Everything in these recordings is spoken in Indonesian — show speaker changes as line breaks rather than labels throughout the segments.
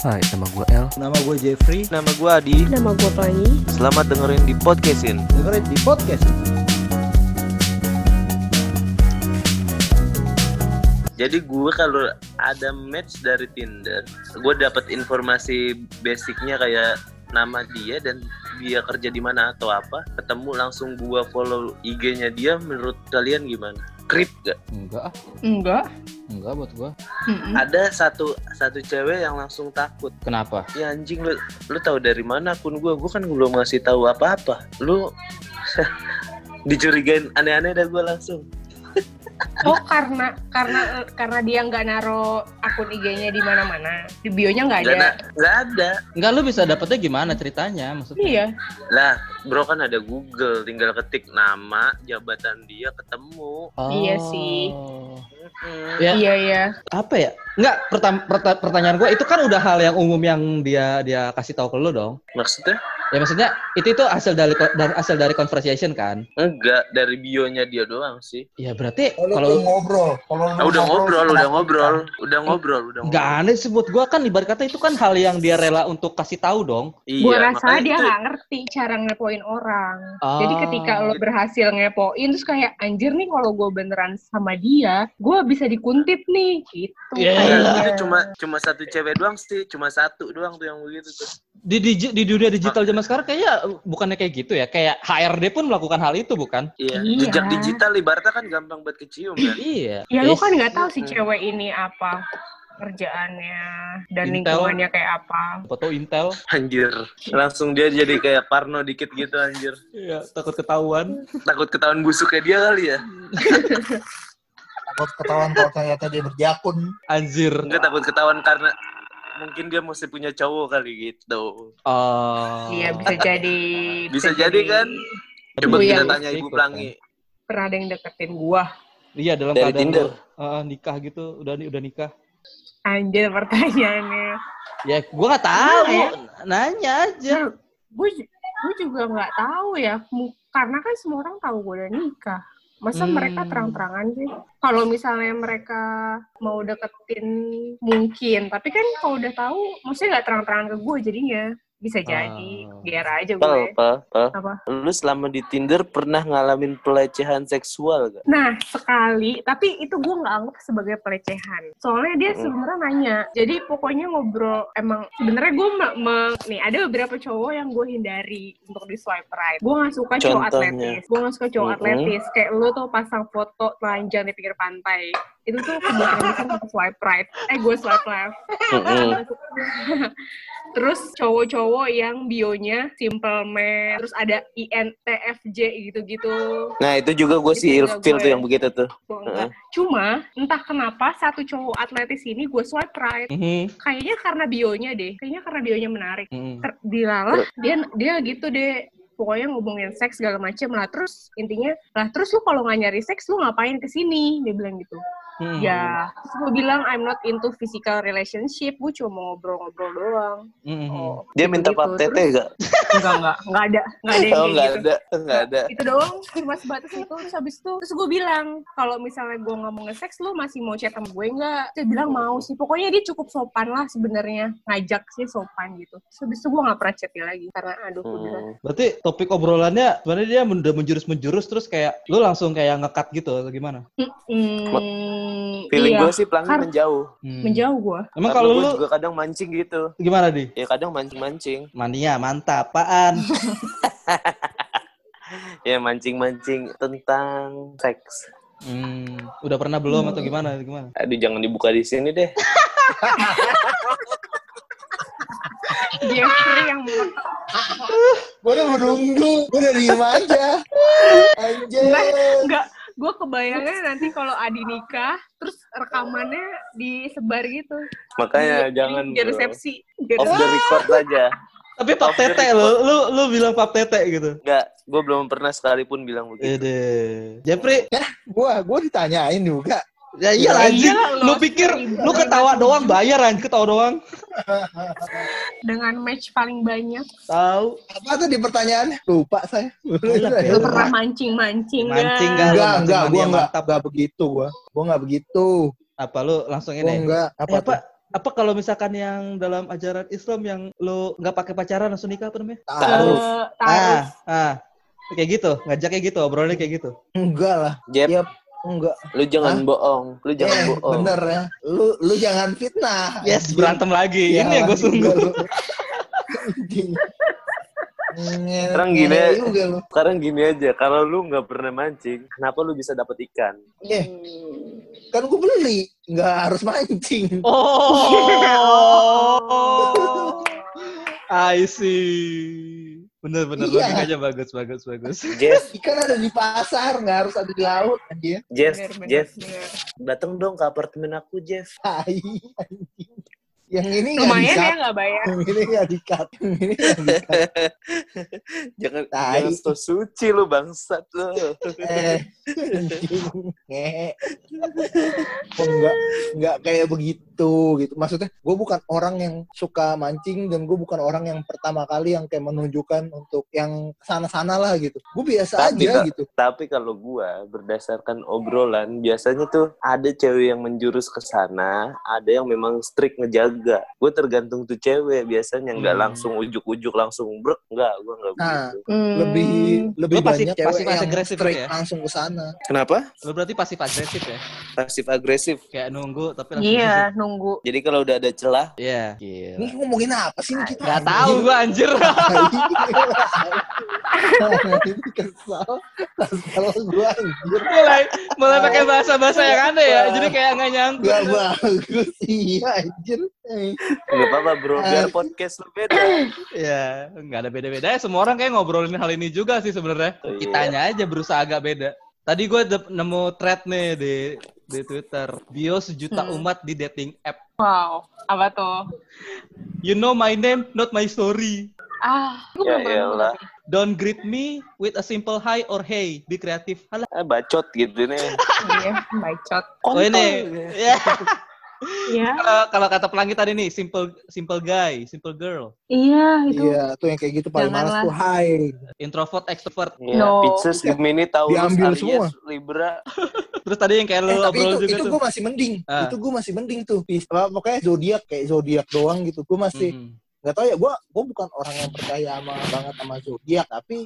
Hai, nama gue El.
Nama gue Jeffrey.
Nama gue Adi.
Nama gue Pelangi.
Selamat dengerin di podcastin.
Dengerin di podcast.
Jadi gue kalau ada match dari Tinder, gue dapat informasi basicnya kayak nama dia dan dia kerja di mana atau apa. Ketemu langsung gue follow IG-nya dia. Menurut kalian gimana? Krip gak?
Enggak, ah.
Enggak.
enggak buat gue.
Mm-mm.
Ada satu satu cewek yang langsung takut.
Kenapa?
Ya anjing lu lu tahu dari mana akun gue? Gue kan belum ngasih tahu apa-apa. Lu dicurigain aneh-aneh dah gue langsung.
Oh karena karena karena dia nggak naro akun IG-nya di mana-mana, di bio-nya nggak ada.
Gak, na- gak ada.
Enggak, lu bisa dapetnya gimana ceritanya? Maksudnya?
Iya.
Lah, bro kan ada Google, tinggal ketik nama, jabatan dia ketemu.
Oh.
Iya sih.
Mm.
Mm-mm.
Ya,
Iya iya.
apa ya? Enggak, pertam- perta- pertanyaan gue itu kan udah hal yang umum yang dia dia kasih tahu ke lu dong.
Maksudnya?
Ya maksudnya itu itu hasil dari dari hasil dari conversation kan?
Enggak, dari bionya dia doang sih.
Ya berarti
Kalau
kalau
ngobrol, kalau lu
Ah, udah
Oh, sama
ngobrol, udah
kita.
ngobrol, udah ngobrol, udah
nggak
ngobrol.
aneh sih buat gue kan ibarat kata itu kan hal yang dia rela untuk kasih tahu dong.
Iya,
Gua rasa
makanya
dia
itu-
nggak ngerti cara ngepoin orang.
Ah.
Jadi ketika lo berhasil ngepoin, terus kayak anjir nih kalau gue beneran sama dia, gue bisa dikuntit nih, gitu.
Iya.
Iya,
kayaknya.
itu cuma cuma satu cewek doang sih, cuma satu doang tuh yang begitu tuh.
di, digi- di dunia digital zaman sekarang kayaknya bukannya kayak gitu ya kayak HRD pun melakukan hal itu bukan
Iya,
Iya.
jejak digital ibaratnya kan gampang buat kecium kan.
iya
Ya lu kan nggak
Yes.
tahu si cewek ini apa kerjaannya dan
Intel.
lingkungannya kayak apa.
foto Intel
Anjir, langsung dia jadi kayak Parno dikit gitu anjir.
iya takut ketahuan
Takut ketahuan busuknya dia kali ya.
Takut ketahuan kalau ternyata dia berjakun.
anjir
Enggak takut ketahuan karena mungkin dia masih punya cowok kali gitu.
oh
Iya bisa jadi.
Bisa jadi kan?
Aduh,
Coba
Iya.
kita
ikut,
tanya Ibu
ikut,
Pelangi.
Pernah ada yang deketin gua.
kan. iya dalam
Dari
keadaan
Tinder.
lu, uh, nikah gitu udah ni- udah nikah
Anjir pertanyaannya.
ya gua nggak tahu
Iya.
nanya aja
Ya, gue gue juga nggak tahu ya mu- karena kan semua orang tahu gue udah nikah masa
Hmm.
mereka terang-terangan sih kalau misalnya mereka mau deketin mungkin tapi kan kalau udah tahu maksudnya nggak terang-terangan ke gue jadinya bisa jadi
Ah.
biar aja
Pel,
gue
pel, pel.
Apa?
Lu selama di Tinder pernah ngalamin pelecehan seksual gak?
Nah, sekali, tapi itu gue nggak anggap sebagai pelecehan. Soalnya dia
Mm.
sebenarnya nanya. Jadi pokoknya ngobrol emang sebenarnya gue me- me- nih ada beberapa cowok yang gue hindari untuk di swipe right. Gue nggak suka cowok
Contohnya?
atletis. Gue nggak suka cowok
Mm-mm.
atletis. Kayak lu tuh pasang foto telanjang di pinggir pantai. Itu tuh kemungkinan besar gue swipe right. Eh, gue swipe left.
Mm.
Terus cowok-cowok yang bionya simple man, terus ada INTFJ gitu-gitu.
Nah itu juga gue
Itu
si
juga
ilfil
gue.
tuh yang begitu tuh.
Gua enggak. Gitu. Cuma entah kenapa satu cowok atletis ini gue swipe right.
Mhm,
Kayaknya karena bionya deh. Kayaknya karena bionya menarik.
mhm.
Ter dilalah dia dia gitu deh. Pokoknya ngomongin seks segala macem lah. Terus intinya lah terus lu kalau nggak nyari seks lu ngapain kesini? Dia bilang gitu.
Mhm.
Hmm.
Ya. Terus gue bilang I'm not into physical relationship. Gue cuma mau ngobrol-ngobrol doang.
Mhm.
Hmm.
Oh.
Dia minta
gitu-gitu.
pap tete gak?
Terus- Enggak enggak enggak ada enggak ada yang
Oh
kayak
nggak
gitu
ada, nggak ada.
itu doang cuma sebatas itu terus habis itu terus gue bilang kalau misalnya gue nggak mau nge-sex lu masih mau chat sama gue nggak dia bilang mau sih pokoknya dia cukup sopan lah sebenarnya ngajak sih sopan gitu terus habis itu gue nggak pernah chat dia lagi karena aduh gue bilang
Hmm.
Berarti topik obrolannya sebenarnya dia men- udah menjurus-menjurus terus kayak lu langsung kayak ngekat gitu atau gimana?
"Mm,
Feeling
iya
gue sih pelangi
Kar-
menjauh.
Hmm.
menjauh gue
Karena
Emang kalau
gua
lu
juga kadang mancing gitu.
gimana di?
Ya kadang mancing-mancing.
Mania mantap, apaan?
Ya mancing-mancing tentang seks.
Hmm, udah pernah belum atau gimana? Gimana?
Aduh jangan dibuka di sini deh.
Jeffrey yang
Gue udah menunggu, gue udah diem aja. Anjir.
Nah,
nggak gue kebayangnya nanti kalau Adi nikah terus rekamannya disebar gitu
Makanya
Di-
jangan
di
bro.
resepsi di
Off the
resepsi.
record aja.
Tapi pap
Off the
tete
record.
lu, lu lu bilang pap tete gitu.
Enggak, gue belum pernah sekalipun bilang begitu.
Ede. Jepri,
Gue gue ditanyain juga.
ya iya anjing.
Iya, lo
Lu pikir
seribu.
lu ketawa doang bayar anjing ketawa doang.
dengan match paling banyak
Tahu.
Apa tuh di pertanyaan? Lupa saya.
ya.
Lu
Lu
pernah mancing-mancing nggak?
Mancing nggak?
Enggak, enggak,
Mania
gue enggak,
mantap.
enggak begitu gue. Gue enggak begitu.
Apa lu langsung
Gue
ini?
Oh, enggak,
Eh,
apa,
apa?
tuh?
apa kalau misalkan yang dalam ajaran Islam yang lo nggak pakai pacaran langsung nikah apa namanya?
Taruh.
Eh,
Ah,
taruh.
ah. Kayak gitu, ngajaknya gitu, obrolannya kayak gitu.
Enggak lah.
Jep,
Yap, enggak.
lu jangan bohong. Lu jangan
Eh,
bohong.
bener ya. Lu lu jangan fitnah.
Yes,
Anjing.
berantem lagi.
Ya,
Ini yang gue Iya, sungguh.
lu. Anjing. Nge-
Orang gila.
ngewe juga lu.
Sekarang gini aja, kalau lu nggak pernah mancing, kenapa lu bisa dapet ikan?
Eh, kan gue beli. Enggak harus mancing.
Oh. I see. Bener bener
Iya.
logikanya bagus bagus bagus.
Jess,
Ikan ada di pasar, nggak harus ada di laut anjir.
Jess,
Bener, bener,
Jess,
bener.
datang dong ke apartemen aku, Jeff.
Tai, anjing. Yang ini nggak
Lumayan
di-cut.
ya nggak bayar.
Yang ini nggak dikat. Yang ini nggak dikat.
Jangan,
Tai.
jangan stop suci lu bangsat lu.
Eh, anjing. Ngehe. Oh, enggak, enggak kayak begitu gitu. Maksudnya, gue bukan orang yang suka mancing dan gue bukan orang yang pertama kali yang kayak menunjukkan untuk yang sana-sana lah gitu. Gue biasa
Tapi,
aja
Kak.
gitu.
Tapi kalau gua berdasarkan obrolan biasanya tuh ada cewek yang menjurus ke sana, ada yang memang strict ngejaga. Gue tergantung tuh cewek biasanya nggak
Hmm.
langsung ujuk-ujuk langsung brek nggak, gua nggak
Nah.
begitu.
Lebih
Hmm.
lebih
Lu pasif-
banyak cewek
pasif-pasif
yang
agresif
straight
ya?
langsung ke sana.
Kenapa?
Lo berarti pasif agresif ya?
Pasif agresif.
Kayak nunggu tapi langsung.
Iya, nunggu.
Jadi kalau udah ada celah,
gitu. Iya.
Ini ngomongin apa sih ini kita?
Gak tau gue anjir.
Anjing. kesel, kesel gue anjir.
mulai mulai pakai bahasa bahasa yang aneh ya. Jadi kayak nggak nyangkut.
Gak bagus, iya anjir. Eh,
nggak apa-apa bro, biar
Eh.
podcast lu beda. Ya
Iya. Nggak ada beda-bedanya. Semua orang kayak ngobrolin hal ini juga sih sebenarnya.
Oh, iya.
Kitanya aja berusaha agak beda. Tadi gue nemu thread nih di di Twitter. Bio sejuta
Hmm.
umat di dating app.
Wow, apa tuh?
You know my name, not my story.
Ah, gue
Ya
belum pernah nemu
elah.
sih.
Don't greet me with a simple hi or hey. Be kreatif. Alah.
Eh, bacot gitu nih.
Iya, bacot.
Oh ini. Ya.
Iya,
Kalau- Kalau kata pelangi tadi nih, simple simple guy, simple girl.
iya itu.
Iya, tuh yang kayak gitu paling males
Janganlah.
tuh. Hai,
Introvert, extrovert.
Ya,
No.
Pisces, Gemini, Taurus,
Diambil
Aries,
semua.
Libra.
Terus tadi yang kayak
Eh,
lo
tapi itu
obrol juga
itu
tuh.
gue masih mending.
Ah.
Itu gue masih mending tuh. Pis- apa, pokoknya zodiak kayak zodiak doang gitu. Gue masih
Mm.
nggak tahu ya. Gue gue bukan orang yang percaya sama banget sama zodiak. Tapi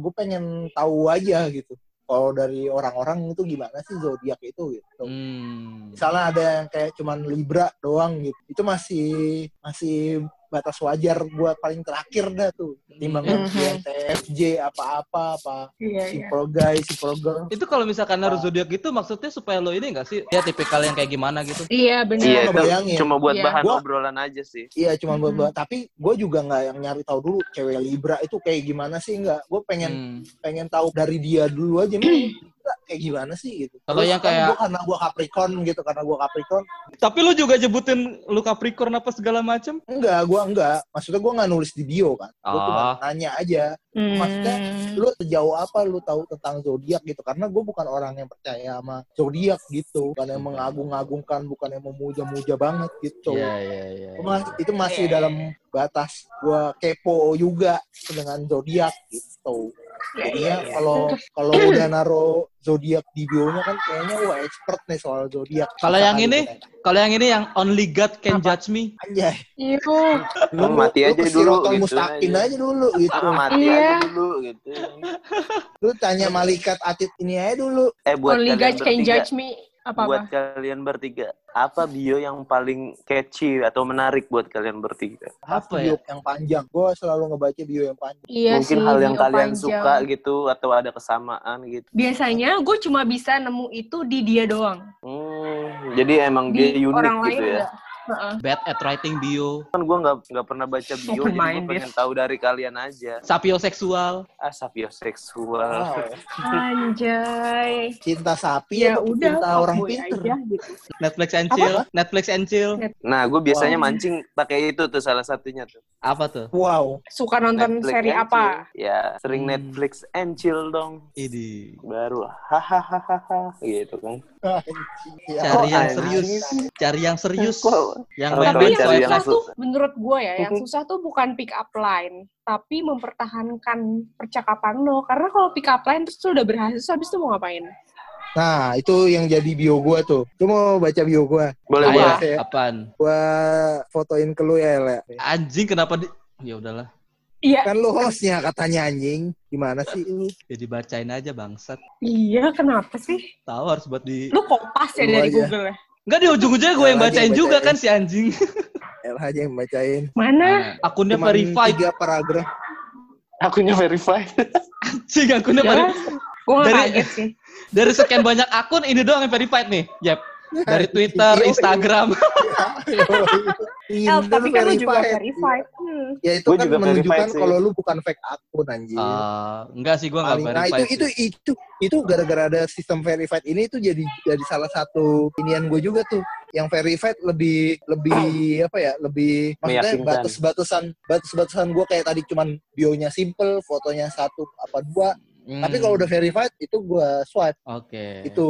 gue pengen tahu aja gitu. Kalau dari orang-orang itu gimana sih zodiak itu gitu.
Hmm.
Misalnya ada yang kayak cuman Libra doang gitu. Itu masih masih batas wajar buat paling terakhir dah tuh. Timbang
Iya.
Mhm.
TFJ apa-apa apa
Iya, iya.
simple guys, simple girl.
Itu kalau misalkan harus zodiak gitu maksudnya supaya lo ini enggak sih? Ya tipikal yang kayak gimana gitu.
Iya, benar.
Iya, itu
ngebayangin.
cuma buat
Iya.
bahan
Gua-
obrolan aja sih.
Iya cuma buat
Mhm.
tapi gue juga nggak yang nyari tahu dulu cewek Libra itu kayak gimana sih nggak gue pengen
Hmm.
pengen tahu dari dia dulu aja nih Libra kayak gimana sih gitu.
Kalau yang kayak-
gue karena gue Capricorn gitu karena gue Capricorn
Tapi lo juga nyebutin lu Capricorn apa segala macem?
enggak gue enggak maksudnya gue nggak nulis di bio kan gue cuma
Ah.
nanya aja
Hmm.
Maksudnya, lu sejauh apa lu tahu tentang zodiak gitu karena gue bukan orang yang percaya sama zodiak gitu bukan yang mengagung-agungkan bukan yang memuja-muja banget gitu.
iya, iya.
Mas, itu masih
Iya,
dalam batas gua kepo juga dengan zodiak gitu.
Iya, iya,
Jadinya
iya.
kalau kalau udah naro zodiak di bio-nya kan kayaknya wah expert nih soal zodiak.
Kalau yang
Misalkan
ini?
gitu.
Kalau yang ini yang only God can
Apa?
judge me.
anjay,
Itu.
lu
Lu mati aja
ke
dulu,
Sirotol
gitu
mustaqim
aja.
aja. dulu gitu.
mati
Iya.
aja dulu gitu.
Lu tanya malaikat atit ini aja dulu.
Eh buat
Only
kalian
God can
bertiga,
judge me.
buat
Apa-apa?
kalian bertiga, apa bio yang paling catchy atau menarik buat kalian bertiga?
Apa ya?
Bio yang panjang. Gua selalu ngebaca bio yang panjang.
Iya
Mungkin
sih,
hal yang
video
kalian
panjang.
suka gitu atau ada kesamaan gitu.
Biasanya gue cuma bisa nemu itu di dia doang.
Hmm, jadi emang dia
Di
unik
orang lain
gitu ya.
enggak. Heeh.
Bad at writing bio.
Kan gue nggak nggak pernah baca bio,
Open
jadi gue
minded.
pengen tahu dari kalian aja.
Sapioseksual.
Ah, sapioseksual.
Wow.
Anjay.
Cinta sapi
Ya
atau
udah,
cinta Iya, orang
fuckboy
pinter.
aja gitu.
Netflix and chill. Netflix and chill.
Nah, gue biasanya
Wow.
mancing pakai itu tuh salah satunya tuh.
Apa tuh?
Wow.
Suka nonton
Netflix
seri
and
apa?
chill. Ya, sering
Hmm.
Netflix and chill dong.
Ini.
Baru hahaha gitu kan.
ya.
Cari yang
anjing.
serius. Cari yang serius.
Kok-
Yang
Kalau
main
cari
Tapi
cari
yang
main swipe
susah
left.
langsung.
tuh menurut gue ya, yang
Mhm.
susah tuh bukan pick up line, tapi mempertahankan percakapan lo. Karena kalau pick up line terus lo udah berhasil, terus habis itu mau ngapain?
Nah, itu yang jadi bio gua tuh. Lu mau baca bio gua?
Boleh,
Ayah,
Apa?
boleh.
saya-
apaan?
Gua fotoin ke lu ya, Le.
Anjing kenapa di... Ya udahlah,
Iya,
Kan lu hostnya katanya anjing. Gimana sih lu?
ya dibacain aja bangsat.
iya kenapa sih?
Tahu harus buat di...
Lu kopas ya
Lu
dari
aja.
Google ya?
Enggak di ujung-ujungnya gue yang
Lagi
bacain
yang
juga
bacain.
kan si anjing.
El aja yang bacain.
Mana?
Akunnya
Cuman
verified.
tiga paragraf.
Akunya verify.
Cing, akunnya
Ya,
verified.
gue gak
Dari-
kaget sih.
Dari sekian banyak akun, ini doang yang verified nih. Yep. Dari
Nah,
Twitter,
Yoi.
Instagram.
Iya.
El, tapi kan lu juga
verified.
verified. Hmm.
Ya itu
Gua
kan
juga
menunjukkan
verified sih.
kalau lu bukan fake akun anjing.
Ah, enggak sih, gue enggak
Paling- nah itu
verified. sih.
itu itu itu gara-gara ada sistem verified ini itu jadi jadi salah satu inian gue juga tuh yang verified lebih lebih apa ya lebih maksudnya
Meyakinkan.
batas-batasan batas-batasan gue kayak tadi cuman bionya simple fotonya satu apa dua
Hmm,
tapi kalau udah verified itu gue swipe
Oke.
itu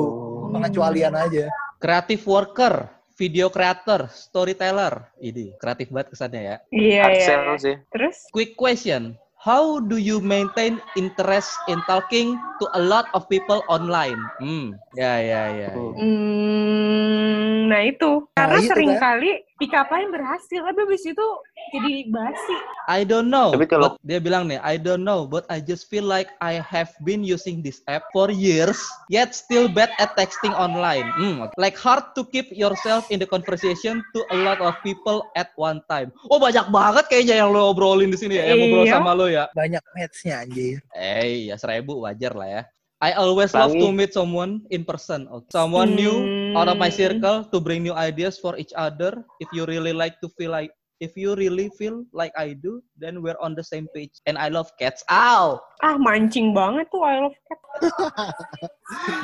pengecualian aja
Creative worker, video creator, storyteller. Ini kreatif banget kesannya ya.
Iya,
Hard
iya.
sell sih.
Terus?
Quick question. How do you maintain interest in talking to a lot of people online? Hmm, ya ya ya.
Hmm.
Iya. Hmm, nah itu. Karena
itu kan.
seringkali dikapain berhasil, tapi abis itu jadi basi.
I don't know.
Tapi kalau-
but- dia bilang nih, I don't know, but I just feel like I have been using this app for years, yet still bad at texting online. Hmm, like hard to keep yourself in the conversation to a lot of people at one time. Oh banyak banget kayaknya yang lo obrolin di sini ya, yang ngobrol
Iya.
sama lo ya.
banyak matchnya anjir
Eh, ya seribu wajar lah ya. I always love
Tangi.
to meet someone in person. Okay. Someone new out of my
Hmm.
circle to bring new ideas for each other. If you really like to feel like if you really feel like I do, then we're on the same page. And I love cats. Ow!
Ah, mancing banget tuh I love cat.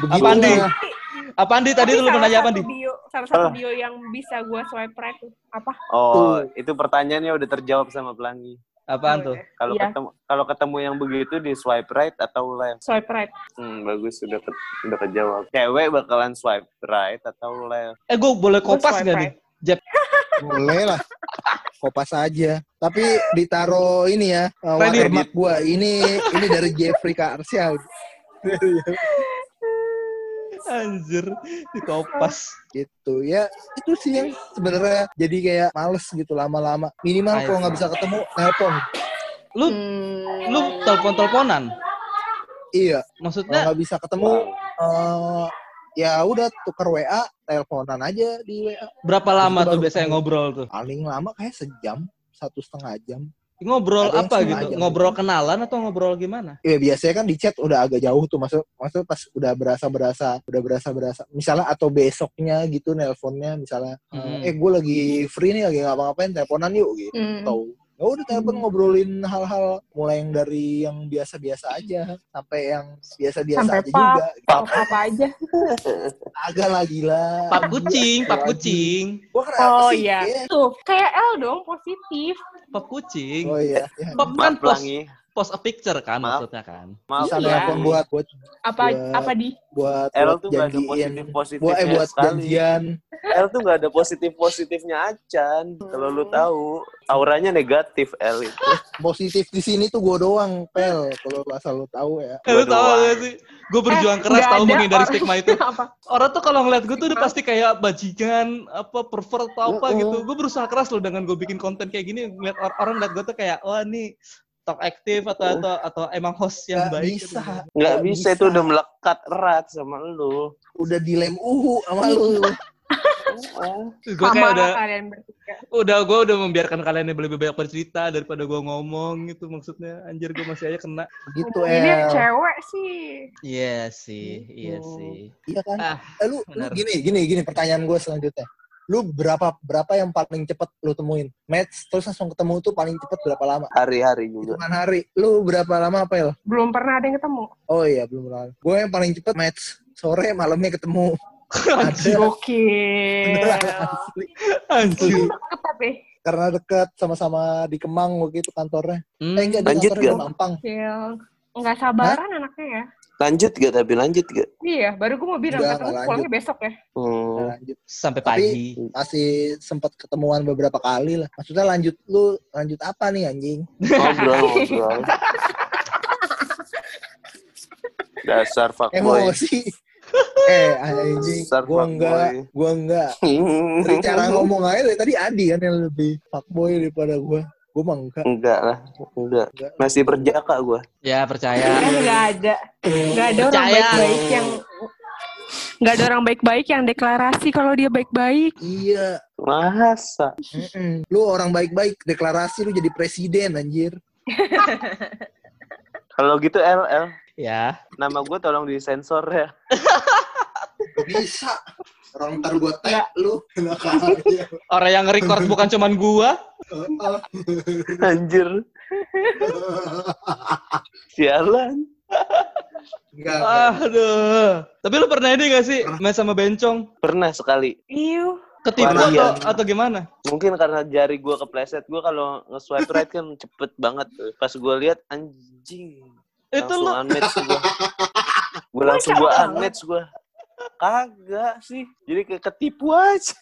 begitu
Apaan, Di?
lah.
Apaan di tadi
Tapi
lu mau
salah
nanya apa
satu gitu.
di?
Bio, salah satu
Ah.
bio yang bisa gue swipe right tuh. Apa?
Oh, itu pertanyaannya udah terjawab sama Pelangi.
Apaan
Oh,
tuh?
iya.
Kalau
Iya.
ketemu kalau ketemu yang begitu di swipe right atau left?
Swipe right.
Hmm, bagus sudah ke, udah kejawab. Cewek bakalan swipe right atau left?
Eh, gue boleh
Gua swipe
kopas nggak di?
right.
boleh lah kopas aja tapi ditaro ini ya eh,
Ready.
watermark gue ini ini dari Jeffrey Karsyal
Anjir, di kopas.
Hmm.
gitu ya itu sih yang sebenarnya jadi kayak males gitu lama-lama minimal
Ayo.
kalau nggak bisa ketemu telepon
Lu
Hmm.
lu telepon-teleponan?
iya kalau
Maksudnya
nggak bisa ketemu eh, ya udah tuker WA teleponan aja di WA
berapa
Itu
lama tuh
baru-
biasanya ngobrol tuh?
paling lama kayak sejam satu setengah jam
Ngobrol
Ada yang
apa
setengah
gitu?
jam.
Ngobrol kenalan atau ngobrol gimana?
ya biasanya kan di chat udah agak jauh tuh maksud maksud pas udah berasa berasa udah berasa berasa misalnya atau besoknya gitu nelponnya misalnya eh,
Hmm.
eh gue lagi free nih lagi ngapa-ngapain teleponan yuk gitu
Hmm.
tahu ya udah telepon
Hmm.
ngobrolin hal-hal mulai yang dari yang biasa-biasa aja sampai yang biasa-biasa
Sampai
aja
pap.
juga
Apa, apa aja.
agak lah gila
Pap kucing, pap
Lagi.
kucing,
gua kenapa
Oh
sih
iya.
Iya.
Tuh, kayak L dong, positif.
pap kucing.
oh iya Ya,
Pap kan
Maaf
post,
Pelangi.
post a picture kan
Maaf.
maksudnya kan.
Maaf. ya.
bisa
Iya.
nelfon buat buat
Apa
Gua-
apa di?
buat,
L
buat
tuh gak ada
janjiin
positif
buat eh
positifnya
buat
sekali.
janjian
L tuh gak ada positif positifnya Acan. Kalau lu tahu, auranya negatif L itu.
positif di sini tuh gua doang pel kalau lu asal lu tahu ya
Lu tahu
doang.
gak sih? Gue berjuang
Eh,
keras
nggak
tahu
ada
menghindari
orang-
stigma itu.
apa?
Orang tuh kalau ngeliat gue tuh udah pasti kayak bajingan, apa pervert atau apa
Mm-mm.
gitu. Gue berusaha keras loh dengan gue bikin konten kayak gini ngeliat or- orang ngeliat gue tuh kayak wah nih talk aktif atau atau atau emang host yang
Nggak
baik. gitu."
bisa
Nggak
Nggak
bisa, itu udah melekat erat sama lu.
udah dilem uhu sama lu
Iya.
Gue
Sama
kayak
lah
udah
kalian bertiga.
udah gue udah membiarkan kalian yang lebih banyak bercerita daripada gue ngomong gitu maksudnya. Anjir gue masih aja kena.
gitu
Ini
El
cewek sih.
Iya sih, iya
Gitu.
sih.
iya kan
Ah,
eh, lu, lu
benar.
gini gini gini pertanyaan gua selanjutnya lu berapa berapa yang paling cepet lu temuin match terus langsung ketemu tuh paling cepet berapa lama
Hari-hari juga.
hitungan hari lu berapa lama pel
Belum pernah ada yang ketemu.
oh iya belum lama gue yang paling cepet match sore malamnya ketemu ada
Gokil.
Asli.
Anjir.
Deket tapi.
karena dekat sama-sama di Kemang waktu itu kantornya eh
Hmm,
enggak
Hmm,
di
Lanjut
kantornya di
nggak?
Mampang
Gokil. Nggak sabaran anaknya ya.
Lanjut gak tapi lanjut gak?
Iya, baru gue mau bilang
Udah,
ketemu
nggak
pulangnya besok ya.
Nah,
Hmm.
lanjut
sampai
Tapi-
pagi.
masih sempat ketemuan beberapa kali lah maksudnya lanjut lu lanjut apa nih anjing
Ngobrol, ngobrol. Dasar fuckboy.
emosi eh anjing
Dasar
gua
fuckboy.
enggak gua enggak dari cara ngomong aja dari tadi Adi kan yang lebih fuckboy daripada gua gua mah enggak
enggak lah, enggak. Masih berjaka gua.
Ya percaya.
Kan nggak ada, nggak ada orang
Percaya.
baik-baik yang nggak ada orang baik-baik yang deklarasi kalau dia baik-baik.
iya
Masa?
mm-mm. lu orang baik-baik deklarasi lu jadi presiden anjir
Kalau gitu LL,
Ya.
nama gua tolong disensor ya.
Gak bisa orang ntar gua tag lu enak aja
Orang yang record bukan cuman gua.
Anjir, sialan.
enggak
Aduh. Tapi lu pernah ini gak sih main sama bencong?
Pernah sekali.
Iu,
Ketipu
Wah, iya.
atau, atau gimana?
Mungkin karena jari gua kepleset, gua kalau nge-swipe right kan cepet banget. tuh. Pas gua lihat anjing.
Itu
langsung
lu
unmatch gua. Gua langsung
Masa
gua
banget?
unmatch gua. Kagak sih. Jadi kayak ketipu aja.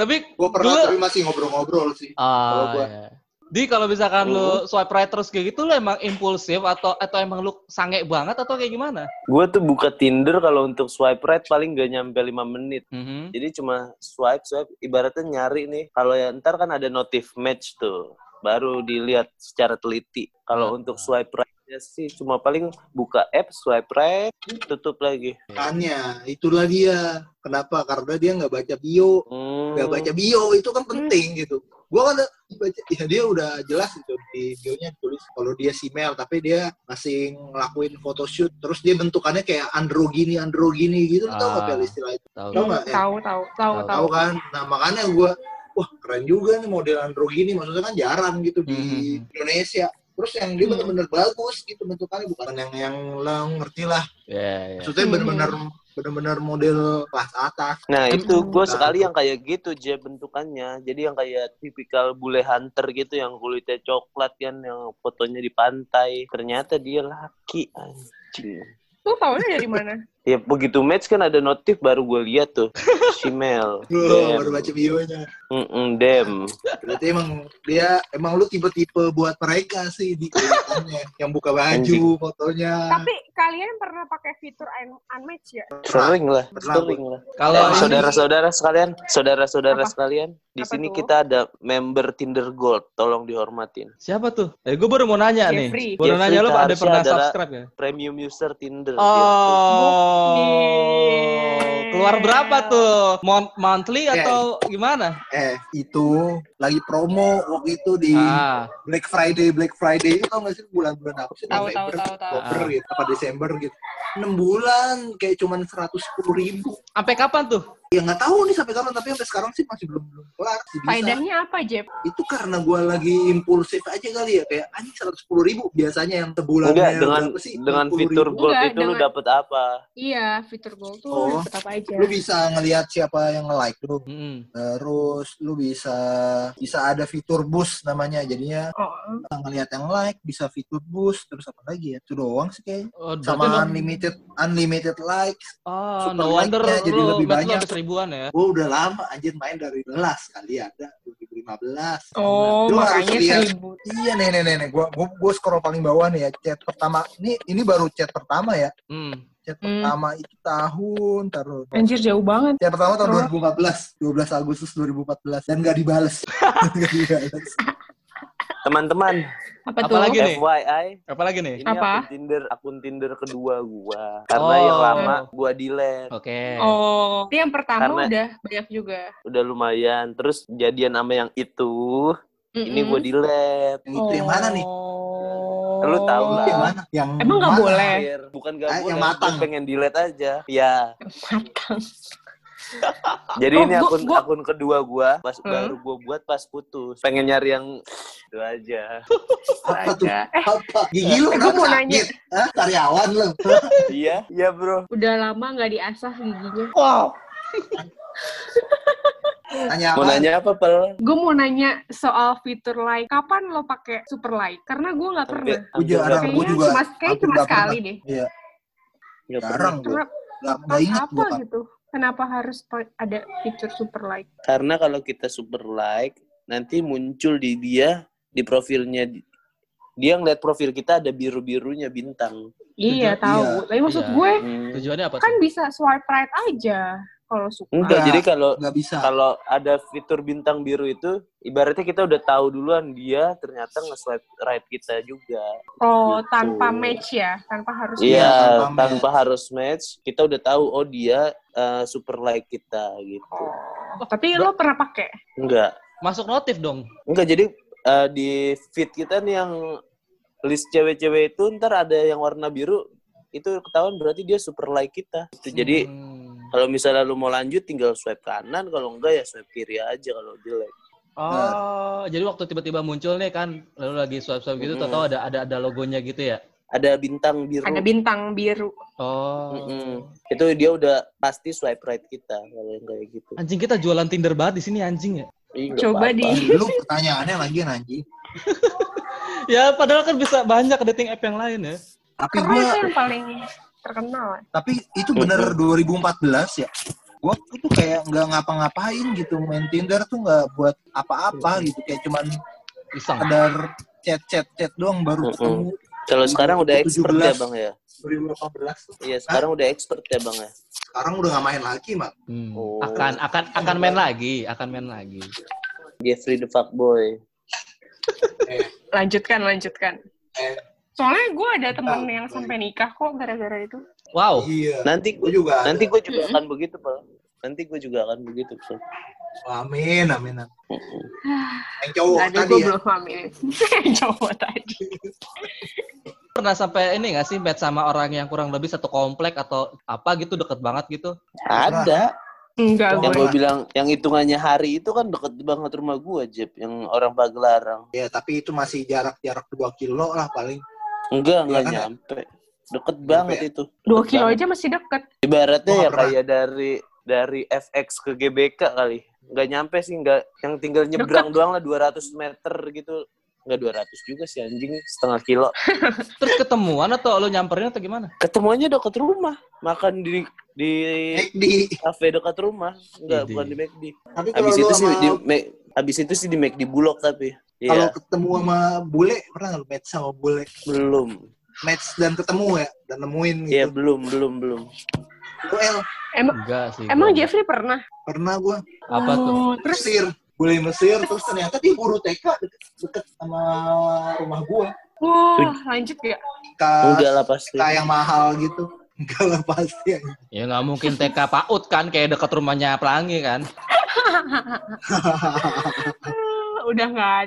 tapi
gue pernah
Gua-
tapi masih ngobrol-ngobrol sih Kalau
Ah,
gua-
iya. Di kalau misalkan lu swipe right terus kayak gitu lu emang impulsif atau atau emang lu sange banget atau kayak gimana?
Gua tuh buka Tinder kalau untuk swipe right paling gak nyampe 5 menit.
Mhm.
Jadi cuma swipe swipe ibaratnya nyari nih. Kalau ya ntar kan ada notif match tuh. Baru dilihat secara teliti. Kalau untuk swipe right-nya sih cuma paling buka app swipe right tutup lagi.
makanya itulah dia kenapa karena dia nggak baca bio
Hmm.
nggak baca bio itu
Hmm.
kan penting gitu gua kan baca ya dia udah jelas itu di bionya tulis kalau dia si Mel tapi dia masih ngelakuin photoshoot terus dia bentukannya kayak androgini androgini gitu Lu tau
Ah.
nggak Pel istilah itu
Tahu.
Tahu nggak?
tahu tahu tahu tahu.
Eh. tahu kan nah makanya gua wah keren juga nih model androgini maksudnya kan jarang gitu di
Mhm.
Indonesia terus yang dia
Hmm.
bener-bener bagus gitu bentukannya bukan yang yang lo ngerti lah
Iya, iya.
maksudnya
Hmm.
bener-bener bener-bener model kelas atas
Nah itu gue
Nah.
sekali yang kayak gitu Jeb bentukannya Jadi yang kayak tipikal bule hunter gitu Yang kulitnya coklat kan Yang fotonya di pantai Ternyata dia laki anjing
Tuh tahunya dari mana?
Ya begitu match kan ada notif baru gue lihat tuh Si Mel
Loh,
Iya,
baru
Dem
baca bionya.
Mm-mm, Dem
Berarti emang dia emang lu tipe-tipe buat mereka sih di kelihatannya. yang buka baju,
Anjing.
fotonya.
Tapi kalian pernah pakai fitur un- unmatch ya?
Sering lah
Pernah gua.
Sering lah
Kalau
Eh, Saudara-saudara sekalian Saudara-saudara
Apa?
sekalian Di
Apa
sini
tuh?
kita ada member Tinder Gold Tolong dihormatin
siapa tuh? Eh, gue baru mau
Iya
nanya
Jeffrey.
nih. Baru
Jeffrey
nanya lu ada
Tarsia
pernah
adalah-
subscribe ya?
Premium user Tinder gitu.
Oh.
Bukti.
Keluar berapa tuh? Mon- monthly
Ya.
atau gimana?
Eh, itu lagi promo waktu itu di
Ah,
Black Friday, Black Friday itu tau gak sih bulan-bulan apa sih?
Tahu,
November,
tahu, tahu, tahu.
Oktober gitu, apa Desember gitu. 6 bulan kayak cuman 110 ribu.
sampai kapan tuh?
Ya nggak tahu nih sampai kapan, tapi sampai sekarang sih masih belum belum kelar. Masih bisa.
Faedahnya apa, Jeb?
Itu karena gua lagi impulsif aja kali ya, kayak anjing 110 ribu biasanya yang sebulan.
Enggak dengan dengan fitur gold
Enggak,
itu lu
dengan-
dapet apa?
Iya, fitur gold tuh
Oh.
dapat apa aja?
lu bisa ngelihat siapa yang nge-like lu.
Mm-mm.
Terus lu bisa bisa ada fitur boost namanya. Jadinya
Oh.
bisa ngelihat yang like, bisa fitur boost, terus apa lagi ya? Itu doang sih kayaknya.
Oh,
Sama
berarti lu-
unlimited unlimited likes.
Oh,
super
no wonder
like-nya jadi
lu
lebih
berarti lu
banyak.
ada seribuan ya.
Gue udah lama anjir main dari 11 kali ya. ada 2015.
Oh,
Lu harus
makanya
lihat.
seribu.
Iya nih nih nih, nih. Gua, gua gua scroll paling bawah nih ya. Chat pertama. Ini ini baru chat pertama ya.
Hmm.
Chat
Hmm.
pertama itu tahun taruh.
Anjir jauh banget.
Yang pertama tahun 2014, 12 Agustus 2014 dan gak dibales. gak dibales.
Teman-teman,
Apa tuh?
Apalagi- Gini.
FYI,
Apalagi nih?
ini akun
Apa?
Tinder, akun Tinder kedua gua. Karena
Oh.
yang lama gua delete,
Oke.
Oh, tapi yang pertama
Karena-
udah banyak juga.
udah lumayan. Terus jadian sama yang itu, ini
Hmm.
gua delete.
Yang itu yang mana nih?
Oh.
Lu tahu lah.
Yang mana? Yang
Emang nggak
mana?
boleh?
Biar- Bukan gak
Ah,
boleh,
yang
gua
matang.
pengen delete aja. Ya,
Matang.
jadi
Oh,
ini
gua-
akun
gua-
akun kedua gua, pas
Hmm?
baru gua buat pas putus. Pengen nyari yang itu aja.
Apa tuh?
Astaga. Eh,
Apa? Gigi lu
Eh, gua
kenapa
mau
sakit?
nanya.
Hah? Karyawan lu.
Iya, iya bro.
udah lama nggak diasah giginya.
Wow.
Tanya apa?
Mau nanya apa, Pel?
Gue mau nanya soal fitur like. Kapan lo pakai super like? Karena gue nggak pernah.
Hampir-
Gua juga
hampir
ada.
gak-
gua
Kayaknya
juga
cuma, kayak
hampir
cuma
nggak
sekali deh.
Iya,
gak pernah.
jarang gua.
Kenapa?
Gak, gak ingat
apa
gua kan.
gitu? Kenapa harus pa- ada fitur super like?
Karena kalau kita super like, nanti muncul di dia di profilnya di- dia ngeliat profil kita ada biru-birunya bintang.
Tujuan-
Iya, tahu. Tapi maksud
Iya.
gue
Hmm.
Tujuannya apa?
kan
tuh?
bisa swipe right aja kalau suka.
Enggak,
Enggak.
jadi kalau
nggak bisa
kalau ada fitur bintang biru itu ibaratnya kita udah tahu duluan dia ternyata nge-swipe right kita juga.
Oh, tanpa
Gitu.
match ya, tanpa harus
Iya,
match.
tanpa
tanpa, harus match, kita udah tahu oh dia eh, super like kita gitu.
Oh, Tapi lo pernah pakai?
Enggak.
Masuk notif dong.
Enggak, jadi eh, di feed kita nih yang list cewek-cewek itu ntar ada yang warna biru itu ketahuan berarti dia super like kita. Gitu. Jadi
Hmm.
kalau misalnya lu mau lanjut tinggal swipe kanan, kalau enggak ya swipe kiri aja kalau jelek.
Oh, jadi waktu tiba-tiba muncul nih kan, lalu lagi swipe-swipe gitu,
Mm-mm.
tau ada ada ada logonya gitu ya?
Ada bintang biru.
Ada bintang biru.
Oh.
Mm-mm. Itu dia udah pasti swipe right kita kalau yang kayak gitu.
Anjing kita jualan Tinder banget di sini anjing ya.
Ih, nggak
Coba
apa-apa.
di
lu pertanyaannya lagi anjing
Ya padahal kan bisa banyak dating app yang lain ya.
tapi
karena
gua
itu yang paling terkenal.
tapi itu
Iya.
bener 2014 ya gua tuh tuh kayak nggak ngapa-ngapain gitu main Tinder tuh nggak buat apa-apa gitu kayak cuman
Iseng.
kadar chat chat chat doang baru
Mm-mm.
ketemu
Kalau sekarang udah expert ya
17.
bang ya.
2018 tuh.
Iya sekarang udah expert ya bang ya.
sekarang udah nggak main lagi mak
Hmm.
Oh.
Akan akan akan main lagi, akan main lagi.
Jeffrey the fuckboy.
Lanjutkan, lanjutkan.
Eh.
Soalnya gue ada temen yang sampai nikah kok gara-gara itu. Oh.
Wow.
iya
Nanti
gua juga ada.
nanti gue juga
Mm-mm.
akan begitu pak. Nanti gue juga akan begitu Pak.
Oh, amin amin amin.
Mm-mm.
yang cowok
Nggak ada
tadi
gue
ya
belum hamil. Cowok tadi.
Pernah sampai ini gak sih match sama orang yang kurang lebih satu komplek atau apa gitu deket banget gitu?
Ada.
Enggak
Yang
gue.
gue bilang yang hitungannya hari itu kan deket banget rumah gue Jep. Yang orang Paglarang.
ya tapi itu masih jarak-jarak 2 kilo lah paling
Enggak enggak
kan, ya?
nyampe. Deket banget
ya?
itu.
Dua
Deket
kilo
banget.
aja masih deket.
Ibaratnya
Gua
ya
nggak pernah.
kayak dari dari FX ke GBK kali. Nggak nyampe sih, nggak yang tinggal nyebrang doang lah 200 meter gitu. Nggak 200 juga sih anjing, setengah kilo.
Terus ketemuan atau lo nyamperin atau gimana?
Ketemuannya dekat rumah, makan di di
di
kafe dekat rumah. Nggak,
Idi.
bukan di McD.
tapi kalau
Abis
lu
itu sih
sama-
di Mac, abis itu sih di McD Bulog tapi.
kalau
Iya,
ketemu sama bule pernah nggak lu match sama bule
belum.
match dan ketemu ya dan nemuin
Iya,
gitu
belum, belum, belum. Iya.
Lu, El,
Enggak sih.
Emang
gua.
Jeffrey pernah?
pernah gua
apa tuh?
Oh, Terus
Mesir bule Mesir terus ternyata dia guru TK deket, deket sama rumah gua
wah lanjut ya.
TK
Enggak lah
TK
pasti.
Ah, yang mahal gitu enggak lah pasti ya.
Ya nggak mungkin TK PAUD kan kayak dekat rumahnya Pelangi kan.
Ah, Udah nggak ada.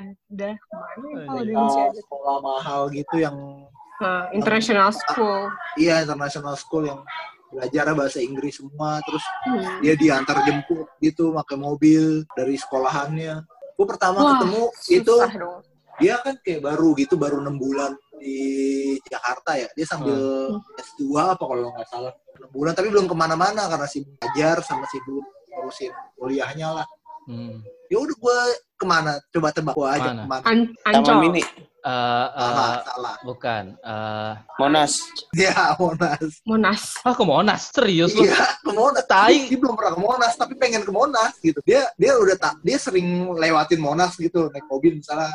Mana ya kalau di
TK
Indonesia ada?
Oh, sekolah mahal gitu yang
Hah, international school.
iya international school yang belajar bahasa Inggris semua terus
Hmm.
dia diantar jemput gitu pakai mobil dari sekolahannya gue pertama
Wah,
ketemu itu
Susah dong.
dia kan kayak baru gitu baru enam bulan di Jakarta ya dia sambil
Hmm.
S2 apa kalau nggak salah enam bulan tapi belum kemana-mana karena sibuk belajar sama sibuk ngurusin kuliahnya lah
Hmm.
ya udah gue kemana coba tebak gue aja
Mana?
kemana
An
Taman
Ancol.
Mini,
Eh,
salah
eh,
salah
bukan. Eh,
Monas.
ya Monas
Monas.
ah ke Monas serius lu?
Iya, ke Monas.
Tai.
Dia, dia belum pernah ke Monas, tapi pengen ke Monas gitu. Dia dia udah tak dia sering lewatin Monas gitu naik mobil misalnya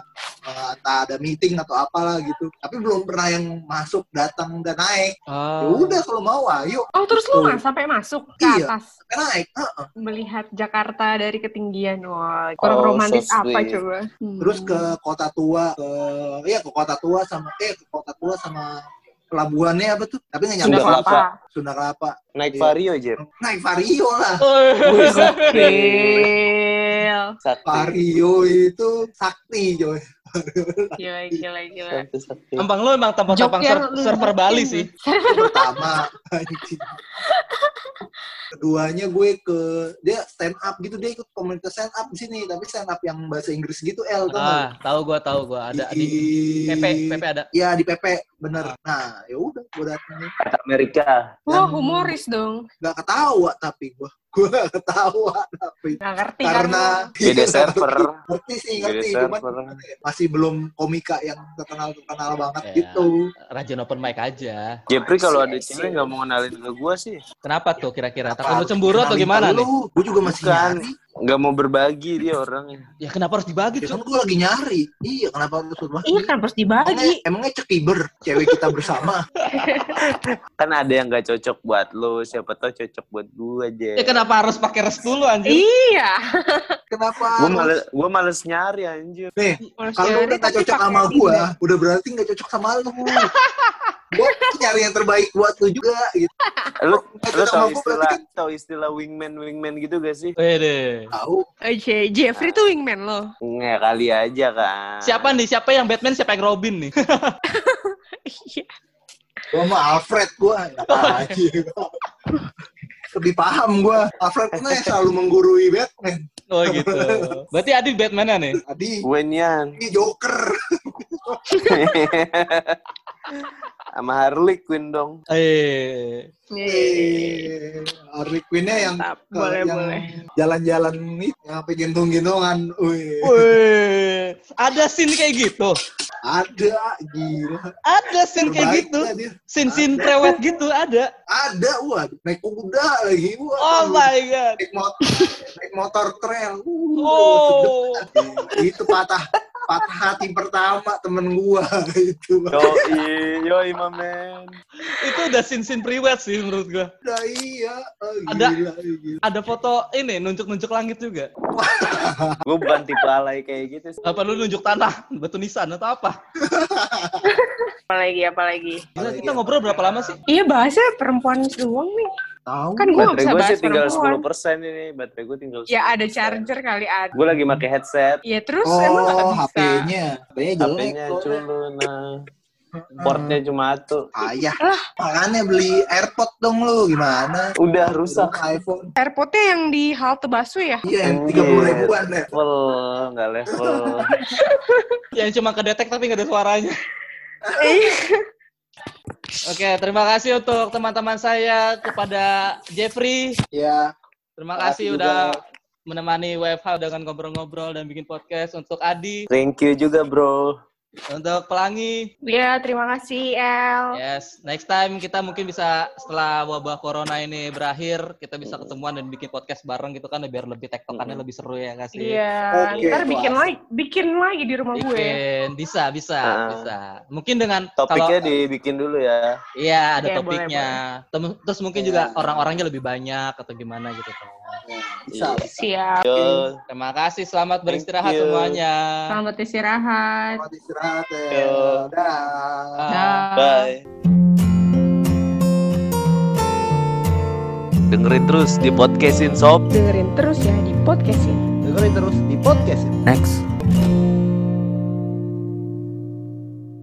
eh, entah ada meeting atau apalah gitu. Tapi belum pernah yang masuk, datang dan naik.
Ah.
Ya udah kalau mau ayo
Oh terus lu nggak sampai masuk ke
Iya.
atas?
naik. Heeh.
melihat Jakarta dari ketinggian. Wah, kurang
Oh,
romantis
so
apa
sweet.
coba? Hmm.
Terus ke kota tua, ke iya ke kota tua sama eh ke kota tua sama pelabuhannya apa tuh? Tapi nggak nyampe
Sunda
Sunda
Kelapa.
Kelapa.
Kelapa.
Sunda Kelapa.
Naik
Iya.
Vario, Jep.
Naik Vario lah.
Eh,
Gokil.
Sakti.
Vario itu sakti coy.
Gila, gila, gila.
Sakti, sakti.
Tampang lo emang tampang-tampang
Jogja
ser-
lu-
server Bali sih.
pertama anjing. keduanya gue ke dia stand up gitu dia ikut komunitas stand up di sini tapi stand up yang bahasa Inggris gitu L tuh
Ah, tahu gua tahu gua ada di Ah. PP PP ada.
ya di PP bener nah ya udah gue datang
Kata Amerika.
Wah,
Dan-
humoris dong.
nggak ketawa tapi gue gue nggak ketawa tapi
Gak ngerti kan
karena
Beda server.
Iya, ngerti sih
Beda
ngerti cuman
server.
masih belum komika yang terkenal terkenal banget
Iya.
gitu
Rajin open mic aja.
Jepri kalau ada
I see, I
cewek nggak mau ngenalin ke gue sih.
Kenapa tuh kira-kira? Takut lu cemburu atau gimana nih?
gue juga masih
Bukan.
nyari
nggak mau berbagi dia orangnya.
Ya kenapa harus dibagi,
Ya kan
Cuk?
gue lagi nyari. Iya, kenapa harus berbagi?
Iya kan harus dibagi.
Emangnya, emangnya cekiber, cewek kita bersama.
Kan ada yang nggak cocok buat lo, siapa tahu cocok buat gue aja.
Iya. kan?
Ya kenapa harus pakai restu lu anjir?
Iya.
Kenapa?
Gue
harus-
males, gua males nyari anjir.
Nih,
Harus
kalau
nyari,
udah gak
tapi
cocok
pakai
sama
Tinder.
gua, udah berarti gak cocok sama lu. gua nyari yang terbaik buat lu juga gitu.
Lu,
Gak cocok sama
lu tau
gua berarti
istilah,
kan
tau istilah wingman wingman gitu gak sih?
Wede.
tahu.
Oke, Eh, Jeffrey tuh wingman loh.
Nggak kali aja kan.
Siapa nih? Siapa yang Batman? Siapa yang Robin nih?
Iya.
Gua mah Alfred gua, enggak aja. Lebih paham gua. Alfred kan yang selalu menggurui Batman.
Oh gitu. Berarti Adit Batman nih?
Tadi
Gue nian.
ini Joker.
Sama Harley Quinn dong.
Eh.
Yeay.
Eh, Harley Quinn-nya yang
Mantap.
ke-
Boleh,
yang
boleh.
jalan-jalan nih, yang sampai gendong-gendongan. Wih,
Wih, ada scene kayak gitu.
ada gila.
Ada scene kayak
Terbaik
gitu.
lah dia.
Scene-scene cerewet gitu ada.
Ada wah, naik kuda lagi wah.
Oh my god.
naik motor naik motor trail Uh,
Oh.
sedep. itu patah patah hati pertama temen gua itu
Yoi, yoi my man.
Itu udah scene-scene priwet sih menurut gua.
udah iya oh,
Ada.
gila, gila.
Ada foto ini nunjuk-nunjuk langit juga.
Gue bukan tipe alay kayak gitu sih.
Apa lu nunjuk tanah, batu nisan atau apa?
Apalagi, apalagi.
Gila, kita ngobrol berapa lama sih?
Iya, bahasnya perempuan doang nih.
tahu
Kan gue gak
Baterai
bisa
gue
bahas
sih tinggal
perempuan.
10% ini. Baterai gue tinggal 10%.
Ya ada charger kali ada.
Gue lagi pakai headset.
Ya terus emang
oh
gak bisa.
HP-nya HP-nya jelek
HP-nya
loh.
culun. Nah. Portnya cuma satu.
ayah
Lah.
makanya beli AirPod dong lu gimana
Udah rusak.
iPhone
Airpodnya yang di halte basu ya?
iya yang tiga puluh ribuan ya
Level, nggak level.
Yang cuma kedetek tapi nggak ada suaranya. Oke, terima kasih untuk teman-teman saya kepada Jeffrey.
ya
Terima
Makasih
kasih udah menemani WFH dengan ngobrol-ngobrol dan bikin podcast untuk Adi,
Thank you juga bro.
untuk Pelangi.
Iya, terima kasih El.
Yes, next time kita mungkin bisa setelah wabah corona ini berakhir, kita bisa ketemuan dan bikin podcast bareng gitu kan biar lebih tektokannya lebih seru ya nggak sih?
Iya,
Oke,
ntar
Mas.
bikin lagi, bikin lagi di rumah gue.
Bikin, bisa, bisa,
Ah.
bisa. Mungkin dengan
Topiknya
kalau-
dibikin dulu ya.
Iya, ada
Oke, boleh,
topiknya. Tem- Terus mungkin
Iya.
juga orang-orangnya lebih banyak atau gimana gitu kan.
bisa
Siap.
Yo,
Terima kasih, selamat
Thank
beristirahat
you.
semuanya.
Selamat istirahat.
Selamat istirahat ya.
Yo.
Dah.
Ah.
bye. Dengerin terus di podcastin sob.
Dengerin terus ya di podcastin.
Dengerin terus di podcast
Next.